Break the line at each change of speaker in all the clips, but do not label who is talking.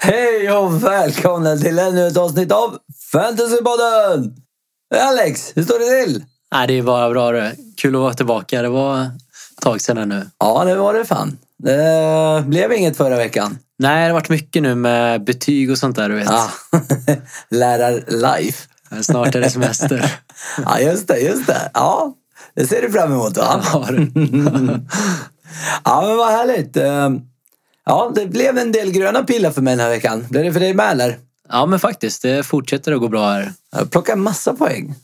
Hej och välkomna till ännu ett avsnitt av Fantasypodden! Alex, hur står det till?
Nej, det är bara bra det. Kul att vara tillbaka. Det var ett tag sedan nu.
Ja, det var det fan. Det blev inget förra veckan.
Nej, det har varit mycket nu med betyg och sånt där, du vet.
Ah. Lärar-life.
Men Snart är det semester.
Ja, just det, just det. Ja, det ser du fram emot va?
Ja, du.
Ja, men vad härligt. Eh, Ja, det blev en del gröna pilar för mig den här veckan. Blev det för dig med eller?
ja, men faktiskt. Det fortsätter att gå bra här.
Jag plockade massa poäng.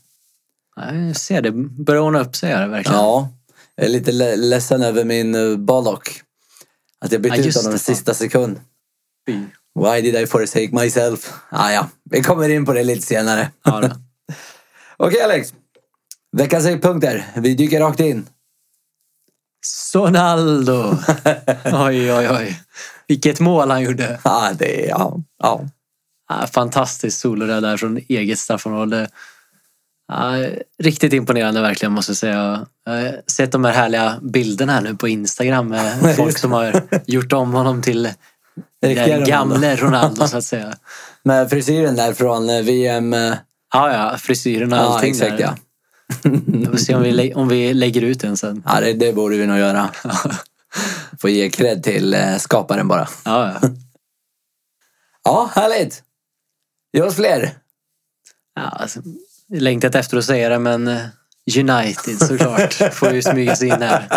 Nej, jag ser, det börjar ordna upp sig här verkligen.
Ja, jag är lite le- ledsen över min eh, Baldock. Att jag bytte
Ja,
ut
just
honom i
det, fan.
sista sekund.
Fy.
Why did I forsake myself? Ah, ja, vi kommer in på det lite senare.
Ja, då.
Okej Alex. Veckans höjdpunkter. Vi dyker rakt in.
Sonaldo! Oj, oj, oj. Vilket mål han gjorde.
Ah, det är, ja, ja.
Ja, Fantastiskt solorädd där från eget straffområde. Ja, riktigt imponerande verkligen måste jag säga. Jag har sett de här härliga bilderna här nu på Instagram med folk som har gjort om honom till
Riktiga
den
Ronaldo.
gamle Ronaldo så att säga.
Med frisyren där från eh, VM. eh,
Ja, ja, frisyren och
Ja,
allting.
exakt
där.
ja.
Vi får se om vi, lä- om vi lägger ut den sen.
ja det, det borde vi nog göra. Får ge cred till eh, skaparen bara.
Ja, ja.
Ja, härligt. Ge oss fler.
Ja, alltså, längtat efter att säga det men eh, United såklart får ju smyga sig in här.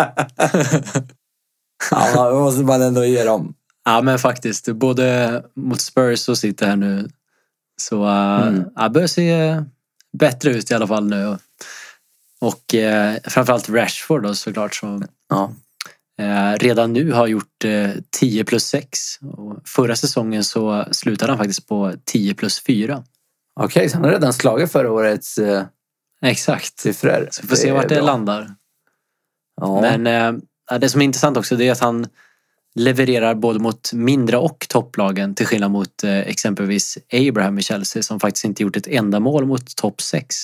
Ja, det måste man ändå ge dem.
Ja men faktiskt, både mot Spurs och City här nu. Så eh,
Mm.
ja, börjar se eh, bättre ut i alla fall nu. Och eh, framförallt Rashford då såklart som
Ja.
eh, redan nu har gjort eh, 10 plus 6. Och förra säsongen så slutade han faktiskt på 10 plus 4.
Okej, så han har redan slagit förra årets eh,
Exakt.
siffror.
Så vi får se vart det
är bra.
landar.
Ja.
Men eh, ja, det som är intressant också det är att han levererar både mot mindre och topplagen till skillnad mot eh, exempelvis Abraham i Chelsea som faktiskt inte gjort ett enda mål mot topp 6.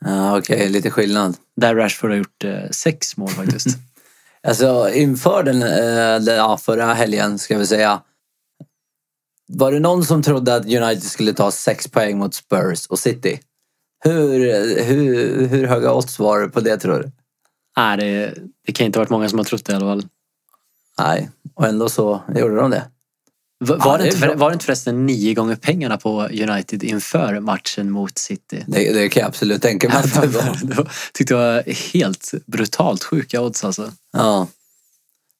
Ja, Okej, lite skillnad.
Där Rashford har gjort eh, sex mål faktiskt.
Alltså inför den, eh, den ja, förra helgen ska vi säga. Var det någon som trodde att United skulle ta sex poäng mot Spurs och City? Hur, hur, hur höga odds var det på det tror du?
Nej, det, det kan inte ha varit många som har trott det i alla fall.
Nej, och ändå så gjorde de det.
Va-
Ja,
Var,
det
det,
är
inte, för-
bra.
var det inte förresten nio gånger pengarna på United inför matchen mot City?
Det, det kan jag absolut tänka mig att det var.
Det var- tyckte jag var helt brutalt sjuka odds alltså.
Ja.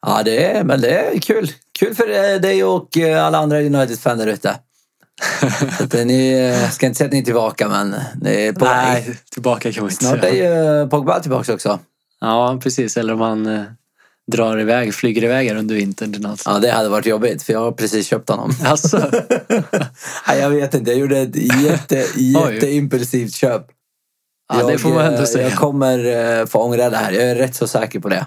Ja, det är, men det är kul. Kul för eh, dig och eh, alla andra United-fan där ute. Så att, eh, Ni eh, ska inte säga att ni är tillbaka, men ni är på väg.
Nej, tillbaka kan man inte
Snart är
säga.
ju eh, Pogba tillbaka också.
Ja, precis. Eller om man eh, drar iväg, flyger iväg här under vintern till något.
Ja, det hade varit jobbigt för jag har precis köpt honom.
Alltså,
Nej, jag vet inte. Jag gjorde ett jätte, jätteimpulsivt köp.
ja, det får man
eh,
ändå säga.
Jag kommer eh, få ångra det här. Jag är rätt så säker på det.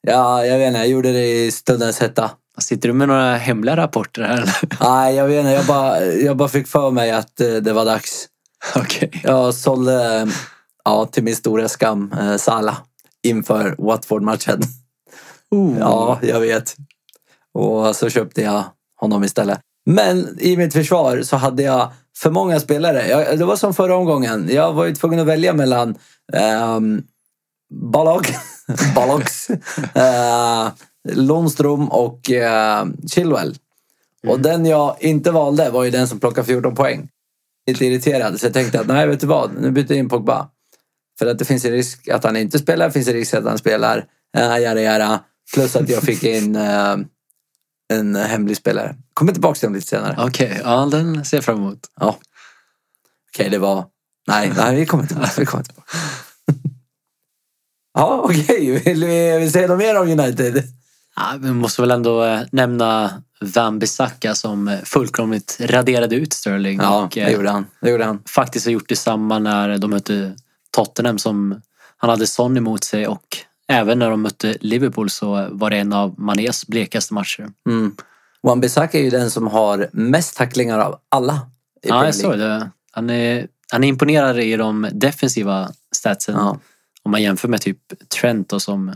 Ja, jag vet inte. Jag gjorde det i stundens hetta.
Sitter du med några hemliga rapporter här? eller?
Nej, jag vet inte. Jag bara, jag bara fick för mig att eh, det var dags.
Okej.
Jag sålde, eh, ja, till min stora skam, eh, Salah inför Watford-matchen.
Oh.
Ja, jag vet. Och så köpte jag honom istället. Men i mitt försvar så hade jag för många spelare. Jag, det var som förra omgången. Jag var ju tvungen att välja mellan um, Balog, Balogs, eh, Lundström och eh, Chilwell. Och den jag inte valde var ju den som plockade 14 poäng. Lite irriterad, så jag tänkte att nej, vet du vad? Nu byter jag in Pogba. För att det finns en risk att han inte spelar, det finns en risk att han spelar. Uh, yada, yada. Plus att jag fick in eh, en hemlig spelare. Kommer tillbaka till dem lite senare.
Okej, ja den ser jag fram emot.
Ja. Okej, det var... Nej, nej vi kommer tillbaka. Vi kommer tillbaka. ja, okej. Vill vi, vill säga något mer om United?
Ja, vi måste väl ändå eh, nämna Van-Bissaka som eh, fullkomligt raderade ut Sterling.
Ja,
och, eh,
det gjorde han. Det gjorde han.
faktiskt har gjort detsamma när de mötte Tottenham som han hade Son emot sig och även när de mötte Liverpool så var det en av Manés blekaste matcher.
Mm. Wan-Bissaka är ju den som har mest tacklingar av alla. i
Ja,
Premier
jag
League.
såg det. Han är, han är imponerad i de defensiva statsen
Ja.
om man jämför med typ Trent och som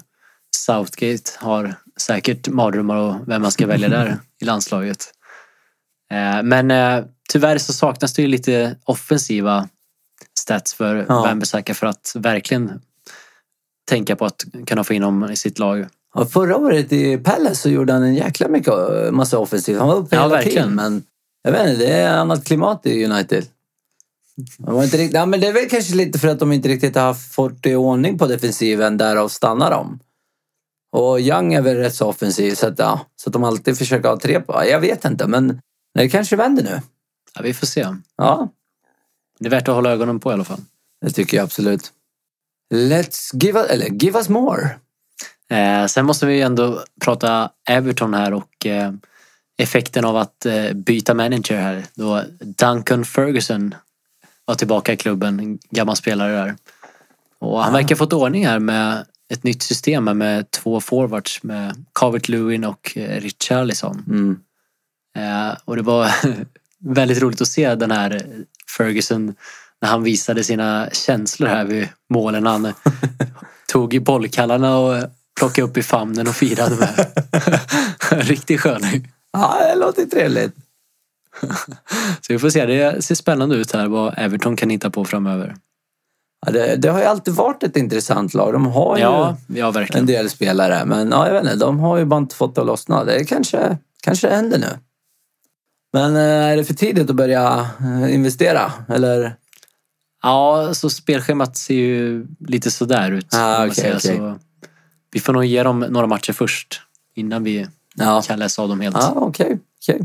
Southgate har säkert mardrömmar och vem man ska välja där i landslaget. Eh, Men eh, tyvärr så saknas det ju lite offensiva stats för
Ja.
Wan-Bissaka för att verkligen tänka på att kunna få in honom i sitt lag.
Ja, förra året i Palace så gjorde han en jäkla mycket, eh, massa offensivt. Han var uppe
Ja,
hela
verkligen.
tiden. Men jag vet inte, det är annat klimat i United. De var inte riktigt, ja, men det är väl kanske lite för att de inte riktigt har haft fått i ordning på defensiven. Därav stannar de. Och Young är väl rätt så offensiv. Så att, ja, så att de alltid försöker ha tre på. Jag vet inte, men det kanske vänder nu.
Ja, vi får se.
Ja,
Det är värt att hålla ögonen på i alla fall.
det tycker jag absolut. Let's give us, eller give us more.
Eh, sen måste vi ju ändå prata Everton här och eh, effekten av att eh, byta manager här. Då Duncan Ferguson var tillbaka i klubben, en gammal spelare där. Och han verkar ha fått ordning här med ett nytt system här med två forwards med Calvert Lewin och eh, Richarlison.
Mm.
Eh, och det var väldigt roligt att se den här Ferguson när han visade sina känslor här vid målen. Han tog i bollkallarna och plockade upp i famnen och firade med. Riktigt sköning.
Ja, det låter trevligt.
Så vi får se, det ser spännande ut här vad Everton kan hitta på framöver.
Ja, det, det har ju alltid varit ett intressant lag. De har ju
Ja, ja
en
verkligen.
del spelare. Men ja, jag vet inte, de har ju bara inte fått det att lossna. Det kanske, kanske det händer nu. Men eh, är det för tidigt att börja eh, investera? Eller?
Ja, så spelschemat ser ju lite sådär ut.
Ah,
får man
okej,
säga.
okej.
Så vi får nog ge dem några matcher först innan vi
Ja,
kan läsa av dem helt.
ja okej. okej.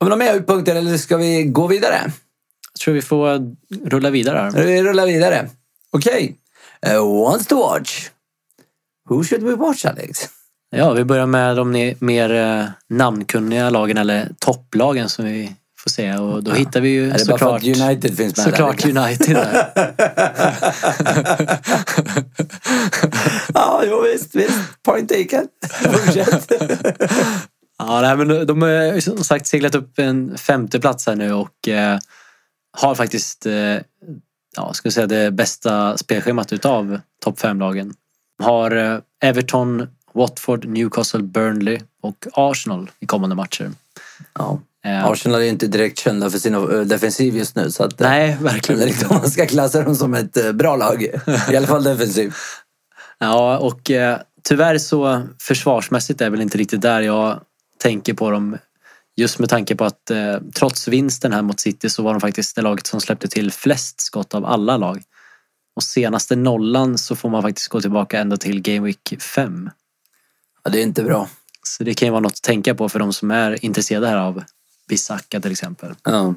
Har vi några mer punkter eller ska vi gå vidare?
Jag tror vi får rulla vidare här.
Vi rullar vidare. Okej. Okay. wants to watch. Who should we watch, Alex?
Ja, vi börjar med de ne- mer eh, namnkunniga lagen eller topplagen som vi får se. Och då hittar vi ju
Är det bara för
såklart,
att United finns med?
såklart
där?
United där.
Ja, jo, visst. visst. Point taken. Fortsätt.
Ja, nej, men de har ju som sagt seglat upp en femte plats här nu och eh, har faktiskt eh, ja, ska jag säga det bästa spelschemat utav topp fem-lagen. Har eh, Everton, Watford, Newcastle, Burnley och Arsenal i kommande matcher.
ja.
Eh,
Arsenal är ju inte direkt kända för sin eh, defensiv just nu. Så att, eh,
Nej,
jag
verkligen
vet inte om man ska klassa dem som ett eh, bra lag. I alla fall defensivt.
Ja, och eh, tyvärr så försvarsmässigt är väl inte riktigt där jag tänker på dem. Just med tanke på att eh, trots vinsten här mot City så var de faktiskt det laget som släppte till flest skott av alla lag. Och senaste nollan så får man faktiskt gå tillbaka ända till Game Week 5.
Ja, det är inte bra.
Så det kan ju vara något att tänka på för de som är intresserade här av Bissaka till exempel.
Ja.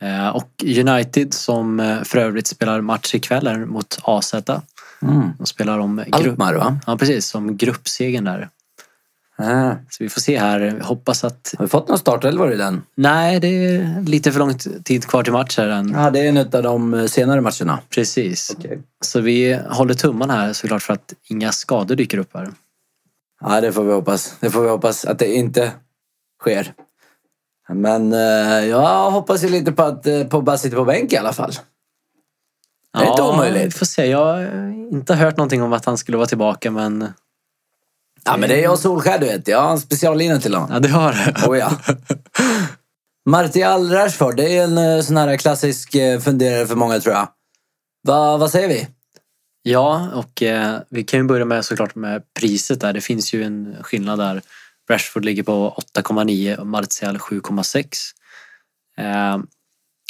Eh, och United som eh, för övrigt spelar match ikväll här mot AZ.
Mm.
De spelar om grupp...
Alkmaar, va?
Ja, precis. Om gruppsegern där.
Ja.
Så vi får se här. Hoppas att...
Har vi fått någon startelva i den?
Nej, det är lite för lång tid kvar till match här än.
Ja, det är en av de eh, senare matcherna.
Precis.
Okay.
Så vi håller tummarna här såklart för att inga skador dyker upp här.
Ja, det får vi hoppas. Det får vi hoppas att det inte sker. Men eh, jag hoppas ju lite på att eh, Pogba sitter på bänk i alla fall. Det är inte omöjligt.
vi får se. Jag har inte hört någonting om att han skulle vara tillbaka men...
Ja, men det är jag och Solskär, du vet. Jag har en speciallina till honom.
Ja, det har det.
Oh, ja. Martial Rashford, det är en eh, sån här klassisk eh, funderare för många tror jag. Va, vad säger vi?
Ja, och eh, vi kan ju börja med såklart med priset där. Det finns ju en skillnad där. Rashford ligger på 8,9 och Martial 7,6. Eh,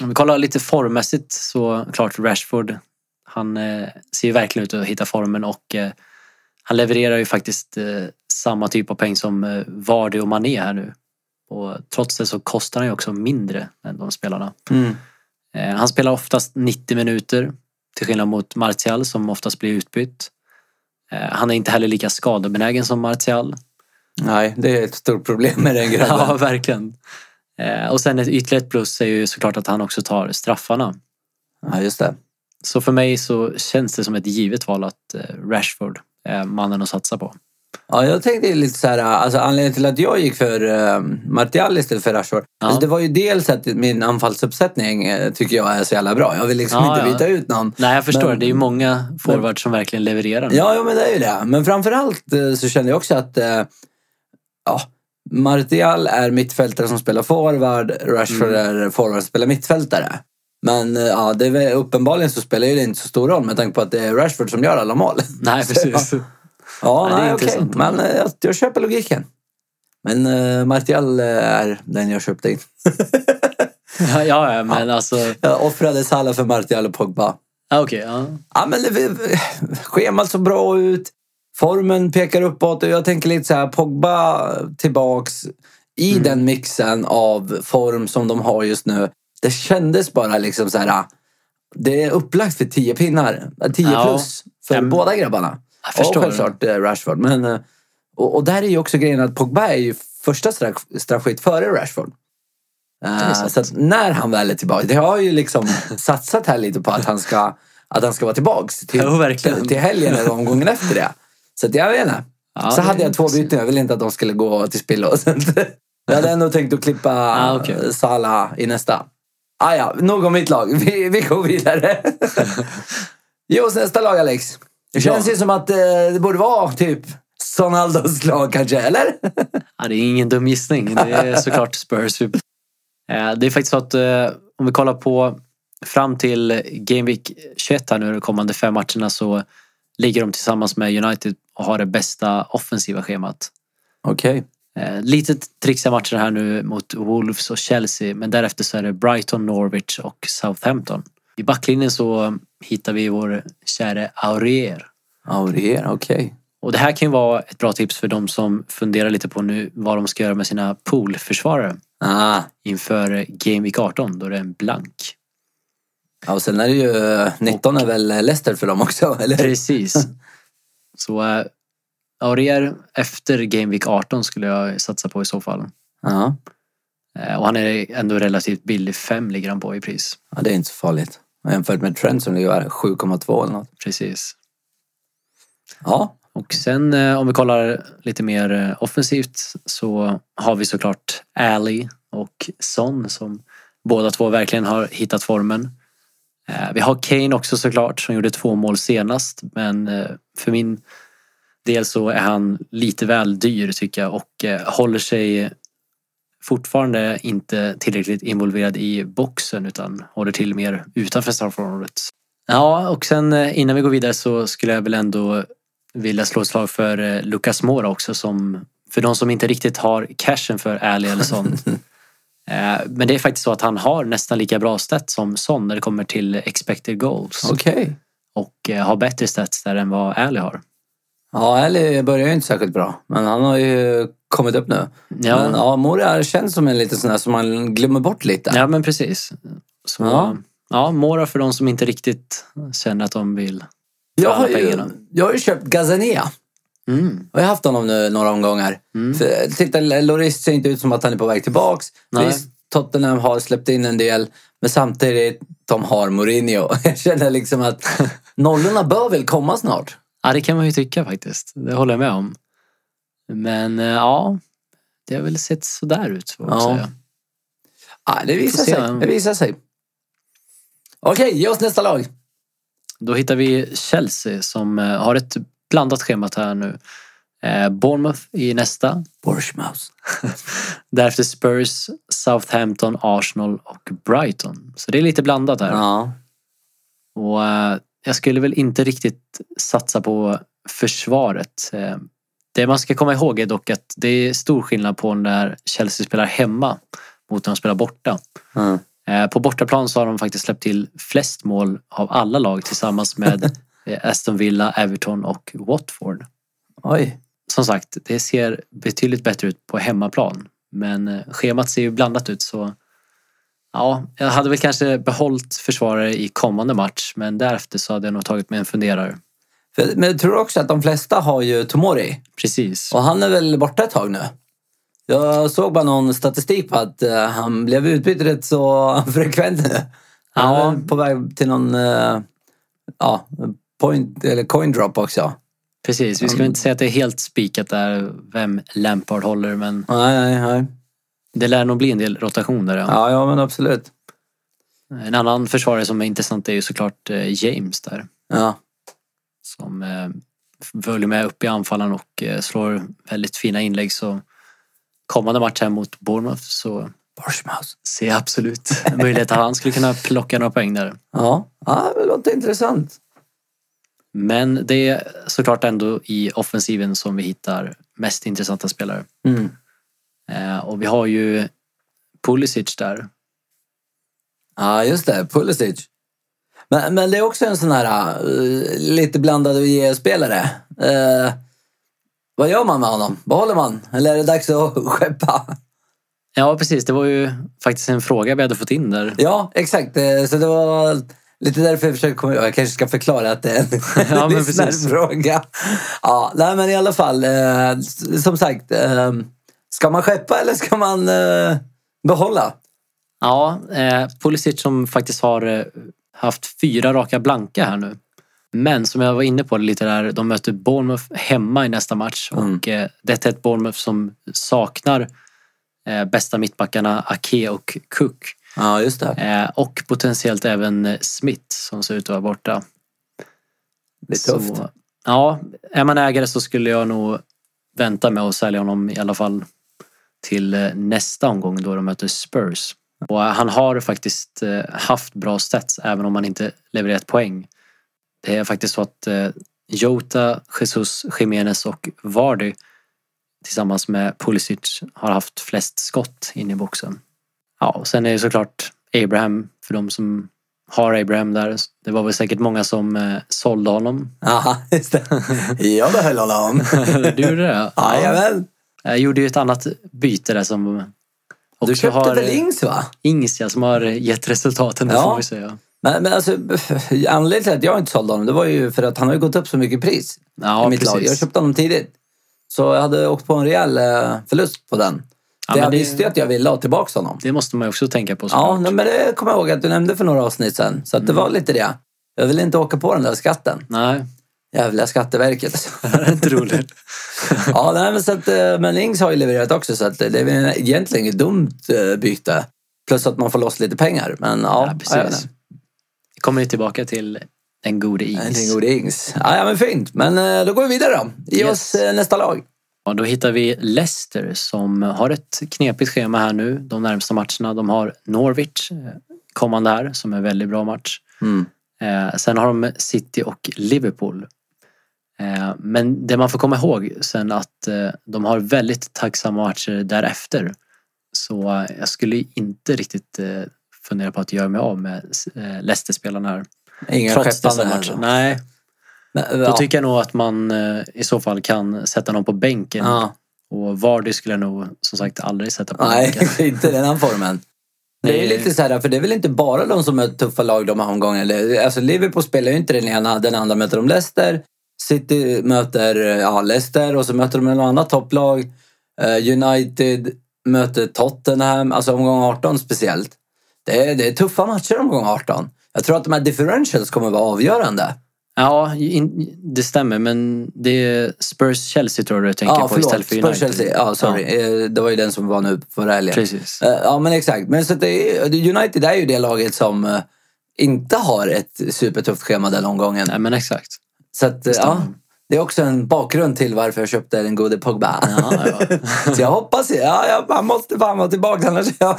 om vi kollar lite formmässigt så klart Rashford. Han eh, ser ju verkligen ut att hitta formen och eh, han levererar ju faktiskt eh, samma typ av poäng som eh, Vardy och Mané här nu. Och trots det så kostar han ju också mindre än de spelarna.
Mm.
Eh, Han spelar oftast 90 minuter till skillnad mot Martial som oftast blir utbytt. Eh, Han är inte heller lika skadebenägen som Martial.
Nej, det är ett stort problem med den grabben.
Ja, verkligen. Eh, Och sen ett ytterligare plus är ju såklart att han också tar straffarna.
Ja, just det.
Så för mig så känns det som ett givet val att eh, Rashford är mannen att satsa på.
Ja, jag tänkte ju lite så här, alltså anledningen till att jag gick för eh, Martial istället för Rashford.
Ja.
Alltså, det var ju dels att min anfallsuppsättning eh, tycker jag är så jävla bra. Jag vill liksom
Ja,
inte
ja.
byta ut någon.
Nej, jag förstår.
Men-
det är ju många forwards som verkligen levererar. nu.
Ja, ja, men det är ju det. Men framförallt eh, så kände jag också att eh, ja, Martial är mittfältare som spelar forward. Rashford är forward som spelar mittfältare. Men eh, ja, det är väl, uppenbarligen så spelar ju det inte så stor roll med tanke på att det är Rashford som gör alla mål.
Nej, precis.
Ja,
Nej, det är
Mm. nej, okej.
intressant.
Men eh, jag, jag köper logiken. Men eh, Martial eh, är den jag köpte in.
Ja, ja, men alltså...
Jag offrade Salah för Martial och Pogba.
Ja, Okej, ja.
Ja, men det, schemat såg bra ut. Formen pekar uppåt och jag tänker lite så här, Pogba tillbaks i
Mm.
den mixen av form som de har just nu. Det kändes bara liksom så här, ah, det är upplagt för 10 pinnar. 10
Ja.
plus för
Ja, men-
båda grabbarna.
Jag förstår.
Och självklart eh, Rashford. Men, eh, och, och där är ju också grejen att Pogba är ju första straff, straffskytt före Rashford.
är
Eh,
sant.
så att när han väl är tillbaka. Det har ju liksom satsat här lite på att han ska, att han ska vara tillbaks till,
Jo, verkligen.
till, till helgen eller omgången efter det. Så att jag vet inte.
Ja,
så
det
hade
är
jag två
intressant.
byten. Jag ville inte att de skulle gå till spillo. Så att- jag hade ändå tänkt att klippa eh,
Ah, okej.
Salah i nästa. Ah, ja, nog om mitt lag. Vi, vi går vidare. Jos nästa lag, Alex. Det känns
Ja.
ju som att eh, det borde vara typ Sonaldos lag kanske, eller?
Ja, det är ingen dum gissning. Det är såklart Spurs. Eh, Det är faktiskt så att eh, om vi kollar på fram till Game Week 21 här nu de kommande fem matcherna så ligger de tillsammans med United och har det bästa offensiva schemat.
Okej.
Eh, Lite trixiga matcher här nu mot Wolves och Chelsea men därefter så är det Brighton, Norwich och Southampton. I backlinjen så hittar vi vår käre Aurier.
Aurier, okej.
Och det här kan ju vara ett bra tips för de som funderar lite på nu vad de ska göra med sina poolförsvarare
Ah,
inför Game Week 18 då det är en blank.
ja, och sen är det ju eh, 19 är väl Leicester för dem också, eller?
Precis. Så äh, Aurier efter Game Week 18 skulle jag satsa på i så fall.
Ja,
Eh, Och han är ändå relativt billig. 5 ligger han på i pris.
ja det är inte så farligt. Jämfört med Trent som ligger här, 7,2 eller något.
Precis.
Ja,
Och sen eh, om vi kollar lite mer eh, offensivt så har vi såklart Ali och Son som båda två verkligen har hittat formen. Eh, Vi har Kane också såklart som gjorde två mål senast men eh, för min del så är han lite väl dyr tycker jag och eh, håller sig fortfarande inte tillräckligt involverad i boxen utan håller till mer utanför straffområdet. Ja, och sen eh, innan vi går vidare så skulle jag väl ändå vilja slå ett slag för eh, Lucas Moura också som för de som inte riktigt har cashen för Ali eller Son. Eh, Men det är faktiskt så att han har nästan lika bra stats som Son när det kommer till expected goals.
okej.
Och eh, har bättre stats där än vad Ali har.
Ja, Ellie börjar ju inte särskilt bra. Men han har ju kommit upp nu.
Ja.
Men ja, Mora känns som en liten sån där som man glömmer bort lite.
Ja men precis. Så,
Ja.
ja. Mora för de som inte riktigt känner att de vill.
jag, har
alla
ju,
pengarna.
jag har ju köpt Gazania.
Mm.
Jag har haft honom nu några omgångar. För, titta, Loris ser inte ut som att han är på väg tillbaks.
Nej.
Visst, Tottenham har släppt in en del. Men samtidigt, de har Mourinho. Jag känner liksom att nollorna bör väl komma snart.
Ja det kan man ju tycka faktiskt. Det håller jag med om. Men eh, ja, det har väl sett sådär ut. Får man
Ja.
säga.
Ja, det
får
visar
se.
sig. Det visar sig. Okej, ge oss nästa lag.
Då hittar vi Chelsea som eh, har ett blandat schemat här nu. Eh, Bournemouth i nästa.
Bournemouth.
Därefter Spurs, Southampton, Arsenal och Brighton. Så det är lite blandat här.
Ja.
Och eh, jag skulle väl inte riktigt satsa på försvaret. Eh, Det man ska komma ihåg är dock att det är stor skillnad på när Chelsea spelar hemma mot när de spelar borta.
Mm.
Eh, På bortaplan så har de faktiskt släppt till flest mål av alla lag tillsammans med eh, Aston Villa, Everton och Watford.
Oj.
Som sagt, det ser betydligt bättre ut på hemmaplan. Men eh, schemat ser ju blandat ut så ja, jag hade väl kanske behållit försvarare i kommande match men därefter så hade jag nog tagit mig en funderare.
För- Men jag tror också att de flesta har ju Tomori.
Precis.
Och han är väl borta ett tag nu. Jag såg bara någon statistik på att eh, han blev utbytt rätt så frekvent nu. Han
Ja.
är väl på väg till någon eh, ja, point, eller coin drop också.
Precis, vi ska väl inte säga att det är helt spikat där vem Lampard håller, men
Nej, nej, nej.
det lär nog bli en del rotation där. Ja.
Ja, ja men absolut.
En annan försvarare som är intressant är ju såklart eh, James där.
Ja.
Som eh, följer med upp i anfallen och eh, slår väldigt fina inlägg. Så kommande match här mot Bournemouth så
Bournemouth.
ser jag absolut en möjlighet att han skulle kunna plocka några poäng där.
Ja, ja det låter intressant.
Men det är såklart ändå i offensiven som vi hittar mest intressanta spelare.
Mm.
Eh, och vi har ju Pulisic där.
Ja, just det. Pulisic. Men, men det är också en sån här eh, lite blandad och ge-spelare. Eh, vad gör man med honom? Behåller man? Eller är det dags att skeppa?
Ja, precis. Det var ju faktiskt en fråga vi hade fått in där.
Ja, exakt. Eh, Så det var lite därför jag försökte komma Jag kanske ska förklara att det är en
Ja, men precis.
lyssnarfråga. Ja, nej, men i alla fall. Eh, s- som sagt, eh, ska man skeppa eller ska man eh, behålla?
Ja, eh, Pulisic som faktiskt har eh, haft fyra raka blanka här nu. Men som jag var inne på lite där, de möter Bournemouth hemma i nästa match.
Mm.
Och eh, detta är ett Bournemouth som saknar eh, bästa mittbackarna Ake och Cook.
Ja, just det.
Eh, och potentiellt även eh, Smith som ser ut att vara borta.
Det är tufft.
Så, ja, är man ägare så skulle jag nog vänta med att sälja honom i alla fall till eh, nästa omgång då de möter Spurs. Och eh, han har faktiskt eh, haft bra stats även om han inte levererat poäng. Det är faktiskt så att eh, Jota, Jesus, Jimenez och Vardy tillsammans med Pulisic har haft flest skott in i boxen. Ja, och sen är det såklart Abraham för de som har Abraham där. Det var väl säkert många som eh, sålde honom
Aha, just det. Jag behöll honom.
du gjorde det?
Jajamän.
Jag gjorde ju ett annat byte där som också
Du köpte
har
väl Ings va?
Ings ja, som har gett resultaten.
Ja.
Ja. Får man ju säga.
Men, men alltså, anledningen till att jag inte sålde honom det var ju för att han har ju gått upp så mycket pris
ja
i mitt lag.
precis.
Jag köpte honom tidigt. Så jag hade åkt på en rejäl eh, förlust på den.
Ja,
det
men
jag
det-
visste ju att jag ville ha tillbaka honom.
Det måste man ju också tänka på.
Ja,
såklart. Mm.
nej, men det kommer jag ihåg att du nämnde för några avsnitt sedan. Så att det var lite det. Jag ville inte åka på den där skatten.
Nej,
Jävla Skatteverket.
det är inte roligt.
ja, nej, men, så att, eh, men Ings har ju levererat också så att det är väl egentligen inget dumt eh, byte. Plus att man får loss lite pengar. Men ja,
Ja,
jag vet
precis.
inte.
Vi kommer ju tillbaka till den gode
Någonting
Ings.
god Ings. Ja, ja, men fint. Men eh, då går vi vidare då. Ge
Yes.
oss eh, nästa lag.
Och då hittar vi Leicester som har ett knepigt schema här nu de närmsta matcherna. De har Norwich eh, kommande här som är en väldigt bra match. Eh, sen har de City och Liverpool. Eh, men det man får komma ihåg sen att eh, de har väldigt tacksamma matcher därefter. Så eh, jag skulle inte riktigt eh, fundera på att göra mig av med eh, Leicester-spelarna här.
Inga
Trots dessa
skeppande här
matcher.
då.
Nej,
Men,
då
ja.
tycker jag nog att man eh, i så fall kan sätta någon på bänken.
ja.
Och Vardy skulle jag nog som sagt aldrig sätta på
Nej,
bänken.
inte i den här formen. Det är ju
Nej.
lite så här, för det är väl inte bara de som är tuffa lag de här omgångarna. Det- Alltså Liverpool spelar ju inte den ena, den andra möter de Leicester. City möter eh, ja, Leicester och så möter de något annat topplag. Eh, United möter Tottenham, alltså omgång 18 speciellt. Det är, det är tuffa matcher omgång 18. Jag tror att de här differentials kommer vara avgörande.
Ja, in, det stämmer. Men det är Spurs-Chelsea tror jag du tänker på istället för United.
Spurs Chelsea. Ja, sorry. Eh, Det var ju den som var nu förra helgen.
Precis.
Eh, Ja, men exakt. Men så att det är, United är ju det laget som eh, inte har ett supertufft schema den omgången.
Nej, men exakt.
Så att, eh, ja,
stämmer.
det är också en bakgrund till varför jag köpte den gode Pogba.
Ja, ja.
så jag hoppas ja, jag, man måste fan vara tillbaka annars. Ja,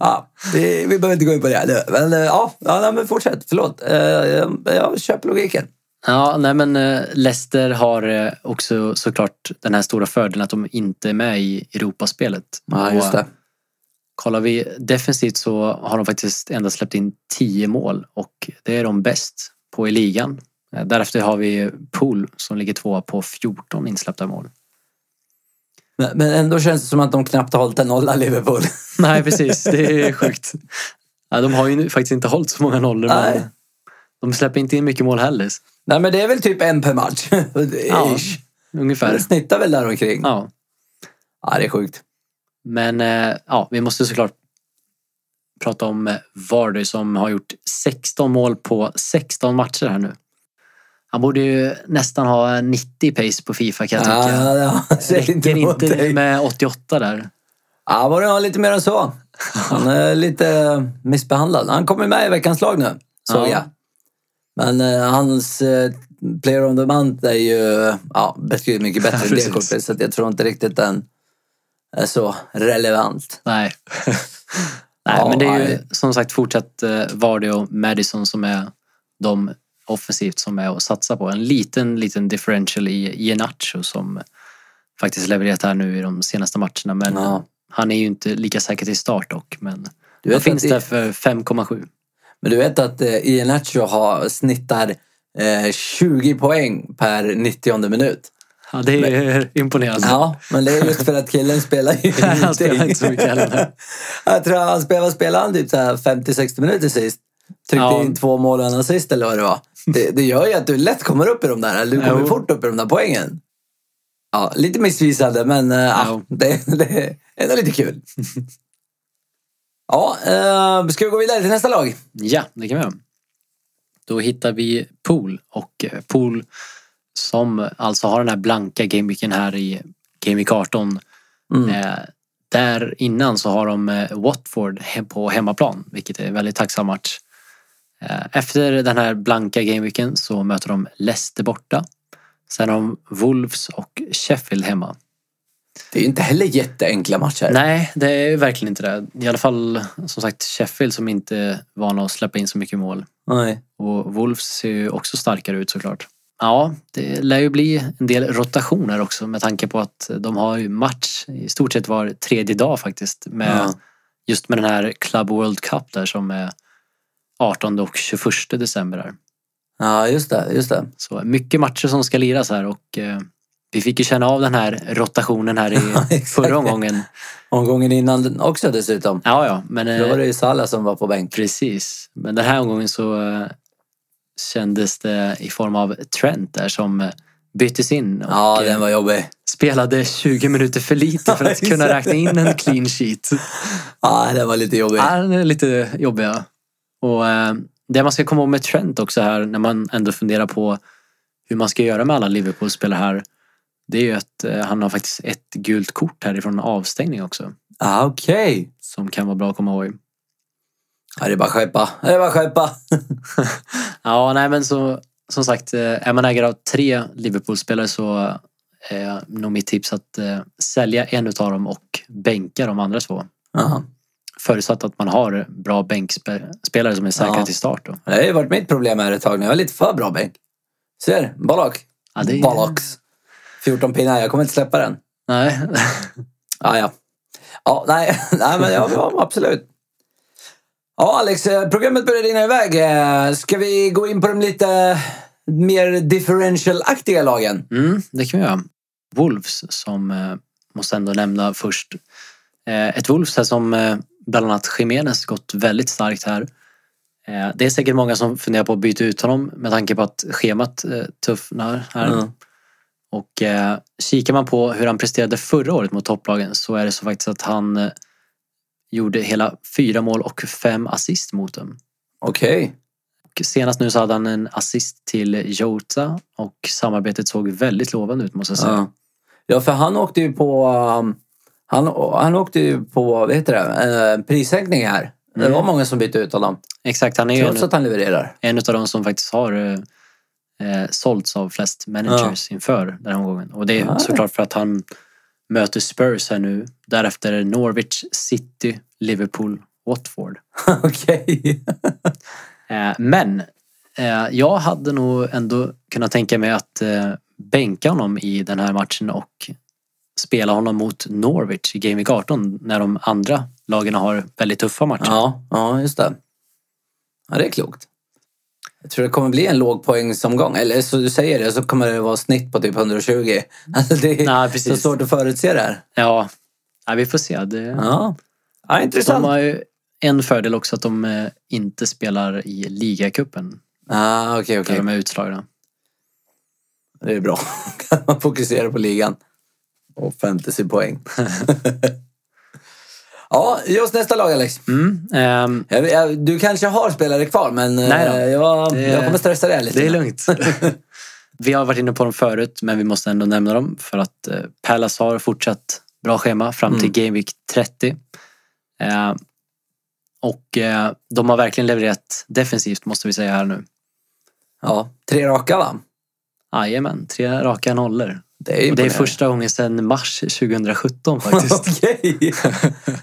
ja, vi, vi behöver inte gå in på det. nu. Men eh, ja, ja nej, men fortsätt. Förlåt. Eh, Jag, jag köper logiken.
Ja, nej men eh, Leicester har eh, också såklart den här stora fördelen att de inte är med i Europaspelet. Och Kollar vi defensivt så har de faktiskt endast släppt in 10 mål och det är de bäst på i ligan. Eh, Därefter har vi Pool som ligger tvåa på 14 insläppta mål.
Men, eh, men ändå känns det som att de knappt har hållit en nolla, Liverpool.
Nej, precis. Det är sjukt. Ja, de har ju nu faktiskt inte hållit så många nollor.
Nej.
Men de släpper inte in mycket mål heller.
Nej, men det är väl typ en per match.
Ja,
Ish.
ungefär.
Den snittar väl där omkring.
Ja.
Ja, det är sjukt.
Men eh, ja, vi måste såklart prata om eh, Vardy som har gjort 16 mål på 16 matcher här nu. Han borde ju nästan ha 90 pace på Fifa kan jag tycka.
Ja, ja, ja. Säg
Räcker inte,
emot dig.
med 88 där.
Ja, var det har lite mer än så. Han är lite missbehandlad. Han kommer med i veckans lag nu, såg
Ja.
jag. Men eh, hans eh, player on the month är ju ja, betydligt mycket bättre än det
Precis.
kortet. Så att jag tror inte riktigt den är så relevant.
Nej. nej,
Ja,
men det är ju
nej.
som sagt fortsatt eh, Vardy och Madison som är de offensivt som är att satsa på. En liten, liten differential i Genacho som faktiskt levererat här nu i de senaste matcherna. Men
Ja.
han är ju inte lika säker till start dock. Men
Du
han
vet
finns
att,
där
i-
för 5,7.
men du vet att eh, Iheanacho har snittar eh, 20 poäng per 90 minut.
Ja, det är imponerande.
Ja, men det är just för att killen spelar ju
Nej, Alltså- han spelar inte så mycket heller.
Jag tror han spelade, spelade han typ så här 50-60 minuter sist. Tryckte
Ja.
in två mål och en assist eller vad det var. Det, det gör ju att du lätt kommer upp i de där. Eller du kommer
Jo.
fort upp i de där poängen. Ja, lite missvisande men eh, ah,
Jo.
det, det är ändå lite kul. Ja, eh, ska vi gå vidare till nästa lag?
Ja, det kan vi göra. Då hittar vi Pool och eh, Pool som alltså har den här blanka gameweeken här i Gameweek 18.
Mm.
Eh, där innan så har de eh, Watford he- på hemmaplan, vilket är en väldigt tacksam match. Eh, efter den här blanka gameweeken så möter de Leicester borta. Sen har de Wolves och Sheffield hemma.
Det är ju inte heller jätteenkla matcher.
Nej, det är ju verkligen inte det. I alla fall som sagt Sheffield som inte är vana att släppa in så mycket mål.
Nej.
Och Wolves ser ju också starkare ut såklart. Ja, det lär ju bli en del rotationer också med tanke på att de har ju match i stort sett var tredje dag faktiskt. Med,
Ja.
Just med den här Club World Cup där som är 18 och 21 december. Där.
Ja, just det. Just det.
Så mycket matcher som ska liras här och eh, vi fick ju känna av den här rotationen här i
exakt.
förra omgången.
Omgången innan den också dessutom.
Ja, ja, men eh,
Då var det ju Salah som var på bänk.
Precis. Men den här omgången så eh, kändes det i form av Trent där som eh, byttes in och
Ja,
eh,
den var jobbig.
spelade 20 minuter för lite för att
Ja,
kunna
exakt.
räkna in en clean sheet.
Ja, den var lite jobbig.
Ja, Den är lite jobbiga. Och eh, det man ska komma ihåg med Trent också här när man ändå funderar på hur man ska göra med alla Liverpool-spelare här. Det är ju att eh, han har faktiskt ett gult kort härifrån en avstängning också.
Ah, Okej.
Som kan vara bra att komma ihåg.
Ja, det är bara att skärpa. Det är bara att skärpa.
Ja, nej men så, som sagt, eh, är man ägare av tre Liverpool-spelare så är nog mitt tips att eh, sälja en utav dem och bänka de andra två.
Ja.
Förutsatt att man har bra bänkspelare som är säkra
Ja.
till start. Då.
Det har ju varit mitt problem här ett tag nu. Jag är lite för bra bänk. Ser? Balak.
Ja, det är-
Balaks. 14 pinnar. Jag kommer inte släppa den.
Nej.
Ja, ja. Ja, nej. nej, men ja, ja, absolut. Ja, Alex. eh, Programmet börjar rinna iväg. Eh, Ska vi gå in på de lite mer differential-aktiga lagen?
Mm, det kan vi göra. Wolves som eh, måste ändå nämna först. Eh, ett Wolves här som eh, bland annat Jiménez gått väldigt starkt här. Eh, det är säkert många som funderar på att byta ut honom med tanke på att schemat eh, tuffnar här.
Mm.
Och eh, kikar man på hur han presterade förra året mot topplagen så är det så faktiskt att han eh, gjorde hela fyra mål och fem assist mot dem.
Okej.
Och senast nu så hade han en assist till Jota och samarbetet såg väldigt lovande ut måste jag säga.
Ja. ja, för han åkte ju på... um, Han, han åkte ju på, vad heter det, eh, prissänkning här. Det
Mm.
var många som bytte ut honom.
Exakt, han är ju en,
Trots att han levererar.
en av de som faktiskt har eh, eh, sålts av flest managers inför den här omgången. Och det är
Ja.
såklart för att han möter Spurs här nu. Därefter är det Norwich, City, Liverpool, Watford.
Okej.
Eh, men eh, jag hade nog ändå kunnat tänka mig att eh, bänka honom i den här matchen och spela honom mot Norwich i Game Week 18 när de andra lagen har väldigt tuffa matcher.
Ja, ja, just det. Ja, det är klokt. Jag tror det kommer bli en låg poängsomgång. Eller så du säger det, så kommer det vara snitt på typ 120. Alltså det är
Nej,
så
precis.
svårt att förutse det här.
Ja. Nej, vi får se. Det...
Ja, ja intressant.
De har ju en fördel också att de eh, inte spelar i ligacupen
Ah, okej, okej.
där de är utslagna.
Det är bra. kan man fokusera på ligan. Och fantasypoäng. Ja, ge oss nästa lag Alex.
Mm, ehm,
Jag, jag, du kanske har spelare kvar, men eh,
Nej då.
jag,
Det-
jag kommer stressa dig lite.
det är lugnt. vi har varit inne på dem förut, men vi måste ändå nämna dem för att eh, Palace har fortsatt bra schema fram till Game Week 30. Eh, och eh, de har verkligen levererat defensivt måste vi säga här nu.
Ja, tre raka va?
Jajamän, tre raka nollor.
Det
Och det är
imponerande.
första gången sedan mars 2017 faktiskt.
Okej.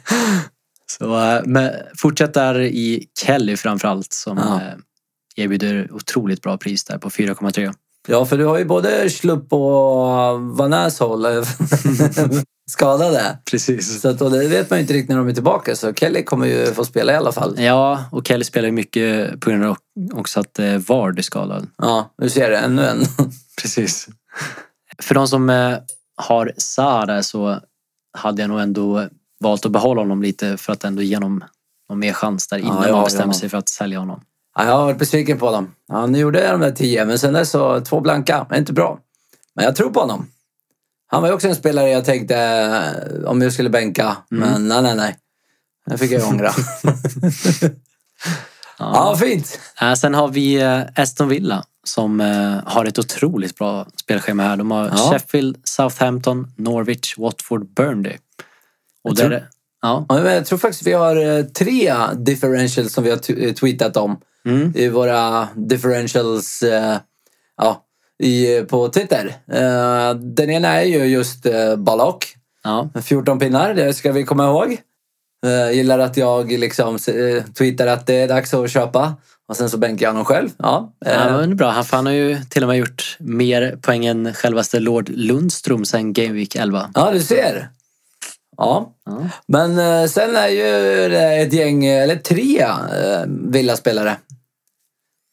Så, eh, men fortsätt där i Kelly framförallt som
Ja.
eh, erbjuder otroligt bra pris där på 4,3.
Ja, för du har ju både Schlupp och Van Asshol eh, skadade.
Precis.
Så att, och det vet man ju inte riktigt när de är tillbaka, så Kelly kommer ju få spela i alla fall.
Ja, och Kelly spelar ju mycket på grund av också att eh, Vard är skadad.
Ja, nu ser jag det. Ännu en.
Precis. För de som eh, har Saar där så hade jag nog ändå valt att behålla honom lite för att ändå ge honom någon mer chans där innan
jag har
man
ju
bestämmer
honom.
sig för att sälja honom.
Ja, jag har varit besviken på dem. Han gjorde de där tio, men sen dess så två blanka. Men inte bra. Men jag tror på honom. Han var ju också en spelare jag tänkte eh, om jag skulle bänka. Men nej, nej, nej. Det fick jag ju ångra. ja, fint.
Eh, Sen har vi eh, Aston Villa som eh, har ett otroligt bra spelschema här. De har
Ja.
Sheffield, Southampton, Norwich, Watford, Burnley. Och
tror-
där, ja,
Ja, men Jag tror faktiskt vi har eh, tre differentials som vi har t- eh, tweetat om.
Mm.
I våra differentials eh, ja, i, på Twitter. Eh, Den ena är ju just eh, Balak.
ja,
14 pinnar, det ska vi komma ihåg. Eh, gillar att jag liksom uh, tweetar att det är dags att köpa. Och sen så bänkar jag honom själv. Ja, eh,
ja men det är bra. Han, för han har ju till och med gjort mer poäng än självaste Lord Lundström sen Game Week 11.
ja du ser. Ja.
Ja.
Men eh, sen är ju det ett gäng, eller tre uh, villaspelare.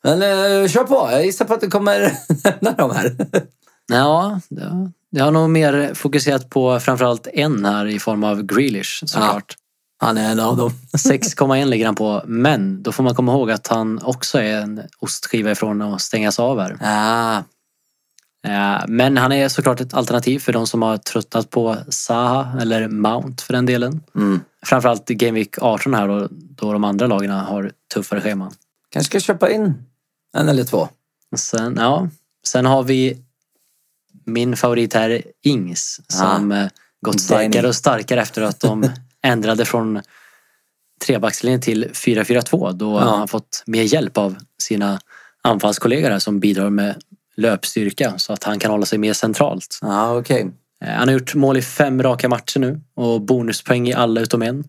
Men eh, kör på, jag gissar på att du kommer nämna dem här.
Ja, ja. jag har nog mer fokuserat på framförallt en här i form av Grealish såklart.
Han är en av dem.
6,1 ligger han på, men då får man komma ihåg att han också är en ostskiva ifrån att stängas av här.
Ah,
Eh, Men han är såklart ett alternativ för de som har tröttnat på Saha eller Mount för den delen.
mm.
Framförallt i Game Week 18 här då, då de andra lagen har tuffare scheman.
Kanske ska köpa in en eller två.
Sen, ja. Sen har vi min favorit här, Ings, som eh, gått starkare och starkare efter att de ändrade från trebackslinjen till 4-4-2 då
Ja.
han fått mer hjälp av sina anfallskollegor här som bidrar med löpstyrka så att han kan hålla sig mer centralt.
Ja, ah, okej.
Eh, Han har gjort mål i fem raka matcher nu och bonuspoäng i alla utom en.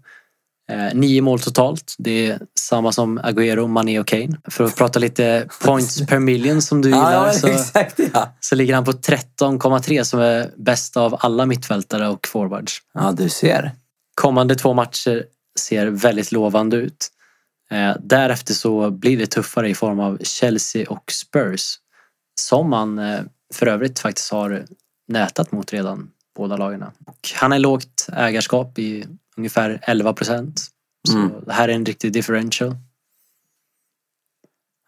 Eh, Nio mål totalt. Det är samma som Agüero, Mané och Kane. För att prata lite points per million som du
Ja,
gillar alltså-
ja,
så,
exakt ja.
så ligger han på 13,3 som är bäst av alla mittfältare och forwards.
Ja, du ser.
Kommande två matcher ser väldigt lovande ut. Eh, Därefter så blir det tuffare i form av Chelsea och Spurs. Som man eh, för övrigt faktiskt har nätat mot redan, båda lagen. Och han är lågt ägarskap i ungefär 11 procent. Så
Mm.
det här är en riktig differential.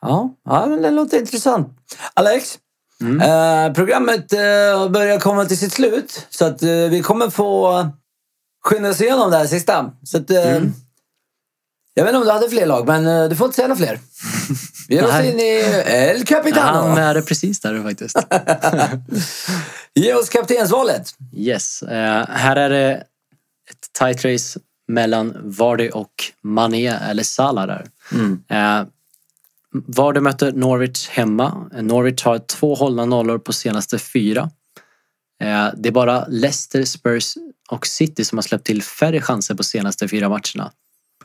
Ja, ja men det låter intressant. Alex,
Mm.
eh, programmet eh, börjar komma till sitt slut. Så att eh, vi kommer få skynda oss igenom det här sista. Så att, eh,
Mm.
Jag vet inte om du hade fler lag, men eh, du får inte säga några fler. Vi ger oss
Nej.
in i El Capitano.
Han är det precis där faktiskt.
Ge oss kaptensvalet.
Yes. Eh, här är det ett tight race mellan Vardy och Mané eller Salah där. Eh, Vardy möter Norwich hemma. Eh, Norwich har två hållna nollor på senaste fyra. Eh, det är bara Leicester, Spurs och City som har släppt till färre chanser på senaste fyra matcherna.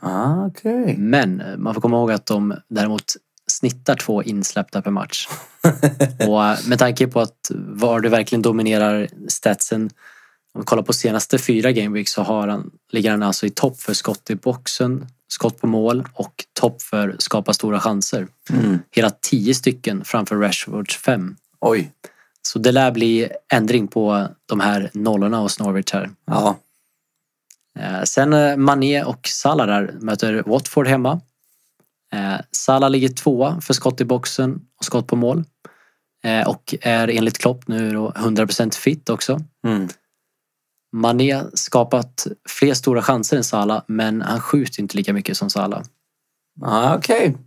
Ah, Okej.
Men eh, man får komma ihåg att de däremot snittar två insläppta per match. och eh, med tanke på att Vardy verkligen dominerar statsen. Om vi kollar på senaste fyra gameweek så har han, ligger han alltså i topp för skott i boxen, skott på mål och topp för skapa stora chanser.
Mm.
Hela tio stycken framför Rashfords fem.
Oj.
Så det lär bli ändring på de här nollorna hos Norwich här.
Ja.
Eh, Sen eh, Mané och Salah där möter Watford hemma. Eh, Salah ligger tvåa för skott i boxen och skott på mål. Eh, Och är enligt Klopp nu då 100% fit också.
Mm.
Mané skapat fler stora chanser än Salah, men han skjuter inte lika mycket som Salah.
Ah, Okej.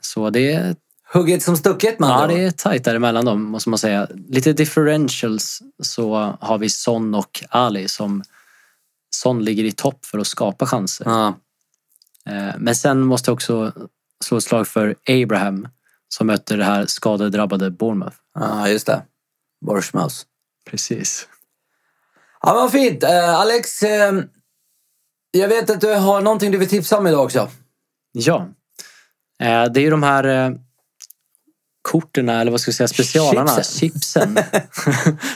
Så det är,
Hugget som stucket man.
ja, det är tajt däremellan dem, måste man säga. Lite differentials så har vi Son och Ali som Son ligger i topp för att skapa chanser.
Ja.
Eh, Men sen måste jag också slå ett slag för Abraham som möter det här skadedrabbade Bournemouth.
ja, just det. Borsmaus.
Precis.
Ja, men vad fint. Eh, Alex, eh, jag vet att du har någonting du vill tipsa om idag också.
Ja. Eh, Det är ju de här eh, korten, eller vad ska vi säga, specialarna, chipsen.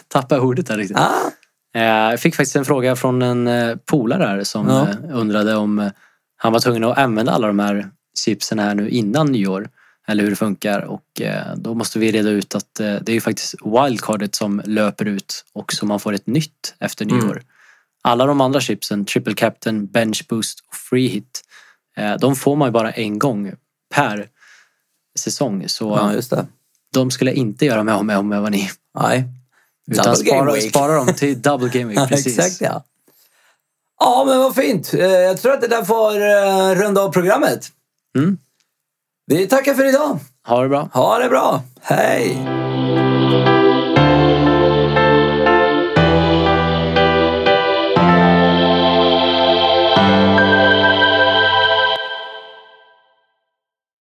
Tappar ordet där riktigt.
Ah,
Eh, Jag fick faktiskt en fråga från en eh, polare här som
Ja.
eh, undrade om eh, han var tvungen att använda alla de här chipsen här nu innan nyår. Eller hur det funkar. Och eh, då måste vi reda ut att eh, det är ju faktiskt wildcardet som löper ut och som man får ett nytt efter
Mm.
nyår. Alla de andra chipsen, triple captain, bench boost och free hit. eh, De får man ju bara en gång per säsong. Så
ja, just det.
de skulle jag inte göra mig av med om jag var ni.
Nej.
Utan
Double game
spara,
week.
spara dem till double game week. Precis.
Exakt ja. Ja, men vad fint. Eh, Jag tror att det där får eh, runda av programmet.
Mm.
Vi tackar för idag.
Ha det bra.
Ha det bra. Hej!